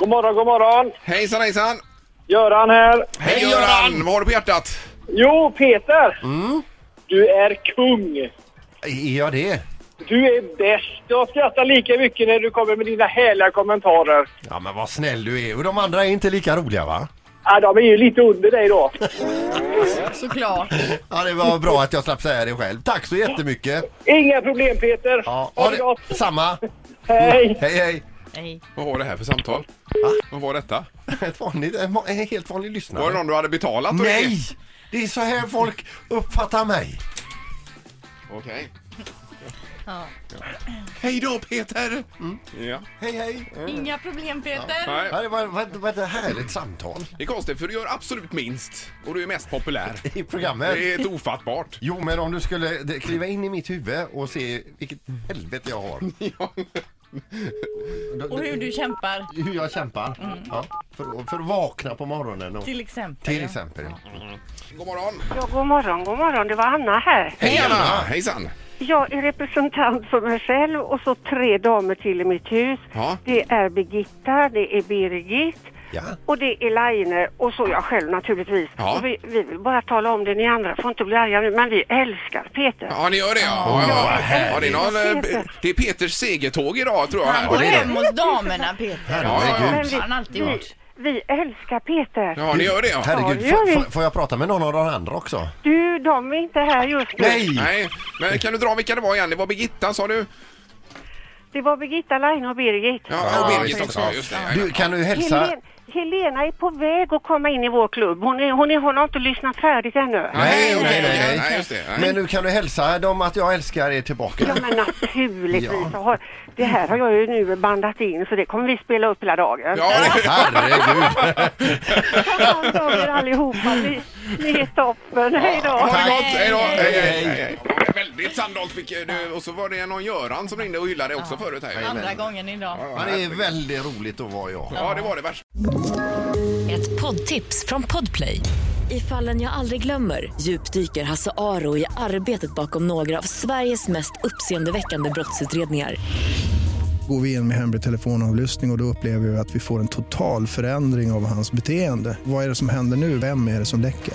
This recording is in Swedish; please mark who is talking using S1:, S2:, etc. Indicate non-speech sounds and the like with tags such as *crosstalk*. S1: God morgon, god morgon.
S2: Hejsan hejsan!
S1: Göran här.
S2: Hej Göran! Vad har du på hjärtat?
S1: Jo, Peter. Du är kung.
S3: Är jag det?
S1: Du är bäst. Jag skrattar lika mycket när du kommer med dina härliga kommentarer.
S3: Ja men vad snäll du är. Och de andra är inte lika roliga va?
S1: Ja, de är ju lite under dig då. *laughs*
S4: Såklart.
S3: Ja det var bra att jag slapp säga det själv. Tack så jättemycket!
S1: Inga problem Peter.
S3: Ja,
S1: ha det gott.
S3: Samma!
S1: Hej.
S3: Hej hej!
S4: Nej.
S2: Vad var det här för samtal? Vad var detta?
S3: Ett vanligt, en va- en helt vanlig lyssnare.
S2: Var det någon du hade betalat? och
S3: Nej!
S2: ringt?
S3: Det är så här folk uppfattar mig.
S2: Okej.
S4: Ja.
S2: Hej då Peter! Mm. Ja.
S3: Hej hej!
S4: Inga problem Peter.
S2: Nej.
S3: Mm. Ja, det var, var, var ett härligt samtal
S2: Det är konstigt för du gör absolut minst och du är mest populär.
S3: i programmet.
S2: Det är helt *laughs* ofattbart.
S3: Jo men om du skulle d- kliva in i mitt huvud och se vilket helvete jag har. Då-
S4: Och hur du kämpar
S3: hur jag kämpar. Ja, för, att- för att vakna på morgonen. Och,
S4: till exempel.
S3: till
S4: ja.
S3: exempel.
S2: God morgon!
S5: Ja, god morgon, god morgon. Det var Anna här.
S2: Hej Anna! Hejsan!
S5: Jag är representant för mig själv och så tre damer till i mitt hus.
S2: Ja.
S5: Det är Birgitta, det är Birgit
S3: Ja.
S5: och det är Laine och så jag själv naturligtvis.
S2: Ja.
S5: Och vi, vi vill bara tala om det, ni andra får inte bli arga nu, men vi älskar Peter.
S2: Ja, ni gör det ja. ja, ja. ja det, är någon, eh,
S5: Peter.
S2: det är Peters segertåg idag tror jag.
S4: Han går
S2: Här.
S4: hem hos damerna Peter.
S2: Ja, ja, ja.
S3: Herregud.
S5: Men vi,
S4: Han har alltid
S3: Mm.
S5: vi,
S4: gjort.
S5: vi älskar Peter.
S2: ja, ni gör det ja.
S3: Herregud,
S5: Ja, gör
S3: får,
S5: vi.
S3: får- får jag prata med någon av de andra också?
S5: Du, de är inte här just nu.
S3: Nej!
S2: Nej, men kan du dra vilka det var igen? Det var Birgitta sa du?
S5: Det var Birgitta, Laine och Birgit.
S2: Ja, och Birgit
S4: precis.
S2: också. Just det.
S3: Du, kan du hälsa?
S5: Helen, Helena är på väg att komma in i vår klubb. Hon, är, hon, är, hon har inte lyssnat färdigt ännu.
S3: Nej, okej,
S2: nej,
S3: nej, nej.
S2: nej, just det. Nej.
S3: Men nu kan du hälsa dem att jag älskar er
S5: Ja
S3: tillbaka?
S5: men naturligtvis.
S3: Ja.
S5: Jag Har, det här har jag ju nu bandat in så det kommer vi spela upp hela dagen.
S2: Ja, det, *laughs*
S3: Herregud!
S5: Ta hand om er allihopa. Ni, ni är toppen. Hej då.
S2: ha det
S3: Tack.
S2: gott! Hej då! Hej, hej,
S3: Hej,
S2: hej. Ja, det var Väldigt Sandholt fick eh, du, och så var det någon Göran som ringde och hyllade också förut här.
S4: Andra gången idag.
S3: Ja, det är väldigt roligt att vara jag.
S2: Ja, det var det värsta.
S6: Ett poddtips från Podplay. I fallen jag aldrig glömmer djupdyker Hasse Aro i arbetet bakom några av Sveriges mest uppseendeväckande brottsutredningar.
S7: Går vi in med hemlig telefonavlyssning och, och då upplever vi att vi får en total förändring av hans beteende. Vad är det som händer nu? Vem är det som läcker?